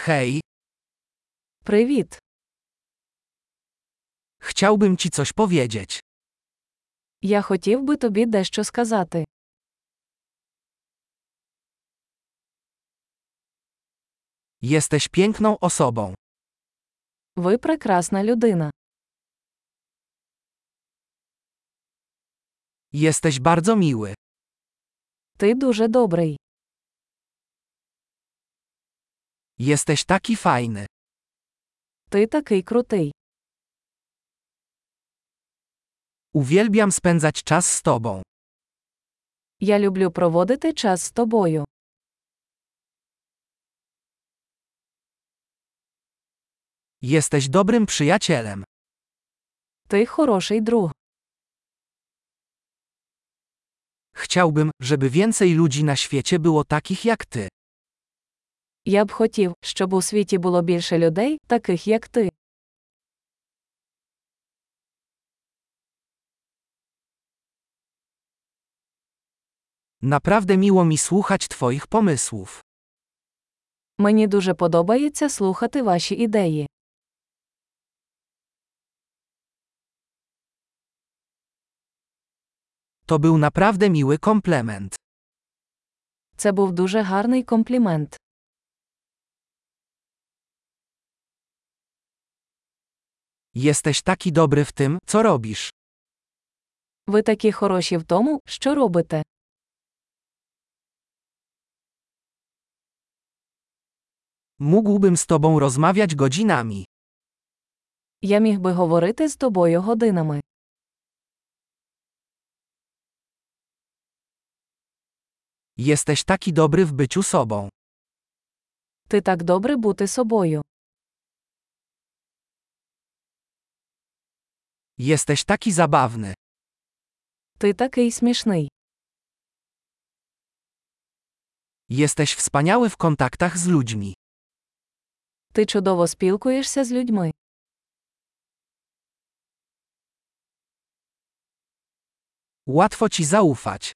Hej, Привіт. chciałbym ci coś powiedzieć. Я хотів би тобі дещо сказати. Jesteś piękną osobą. Ви прекрасна людина. Jesteś bardzo miły. Ти дуже добрий. Jesteś taki fajny. Ти такий крутий. Uwielbiam spędzać czas z tobą. Я люблю проводити час з тобою. Jesteś dobrym przyjacielem. Ти хороший друг. Chciałbym, żeby więcej ludzi na świecie było takich jak ty. Я б хотів, щоб у світі було більше людей, таких як ти. Naprawdę miło mi słuchać twoich pomysłów. Мені дуже подобається слухати ваші ідеї. To był naprawdę miły komplement. Це був дуже гарний комплімент. Jesteś taki dobry w tym, co robisz. Ви такі хороші в тому, що робите. Mógłbym z tobą rozmawiać godzinami. Я міг би говорити з тобою годинами. Jesteś taki dobry w byciu sobą. Ти так добре бути собою. Jesteś taki zabawny. Ти такий смішний. Jesteś wspaniały w kontaktach z ludźmi. Ти чудово спілкуєшся з людьми. Łatwo ci zaufać.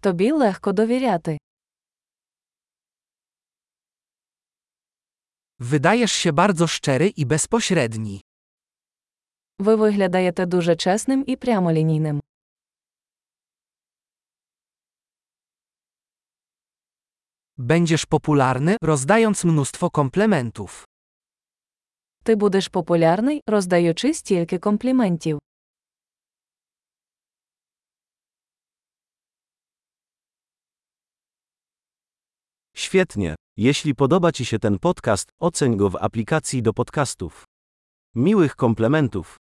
Тобі легко довіряти. Wydajesz się bardzo szczery i bezpośredni. Ви виглядаєте дуже чесним і прямолінійним. Będziesz popularny, rozdając mnóstwo komplementów. Ти будеш популярний, роздаючи стільки компліментів. Świetnie. Jeśli podoba Ci się ten podcast, oceń go w aplikacji do podcastów. Miłych komplementów.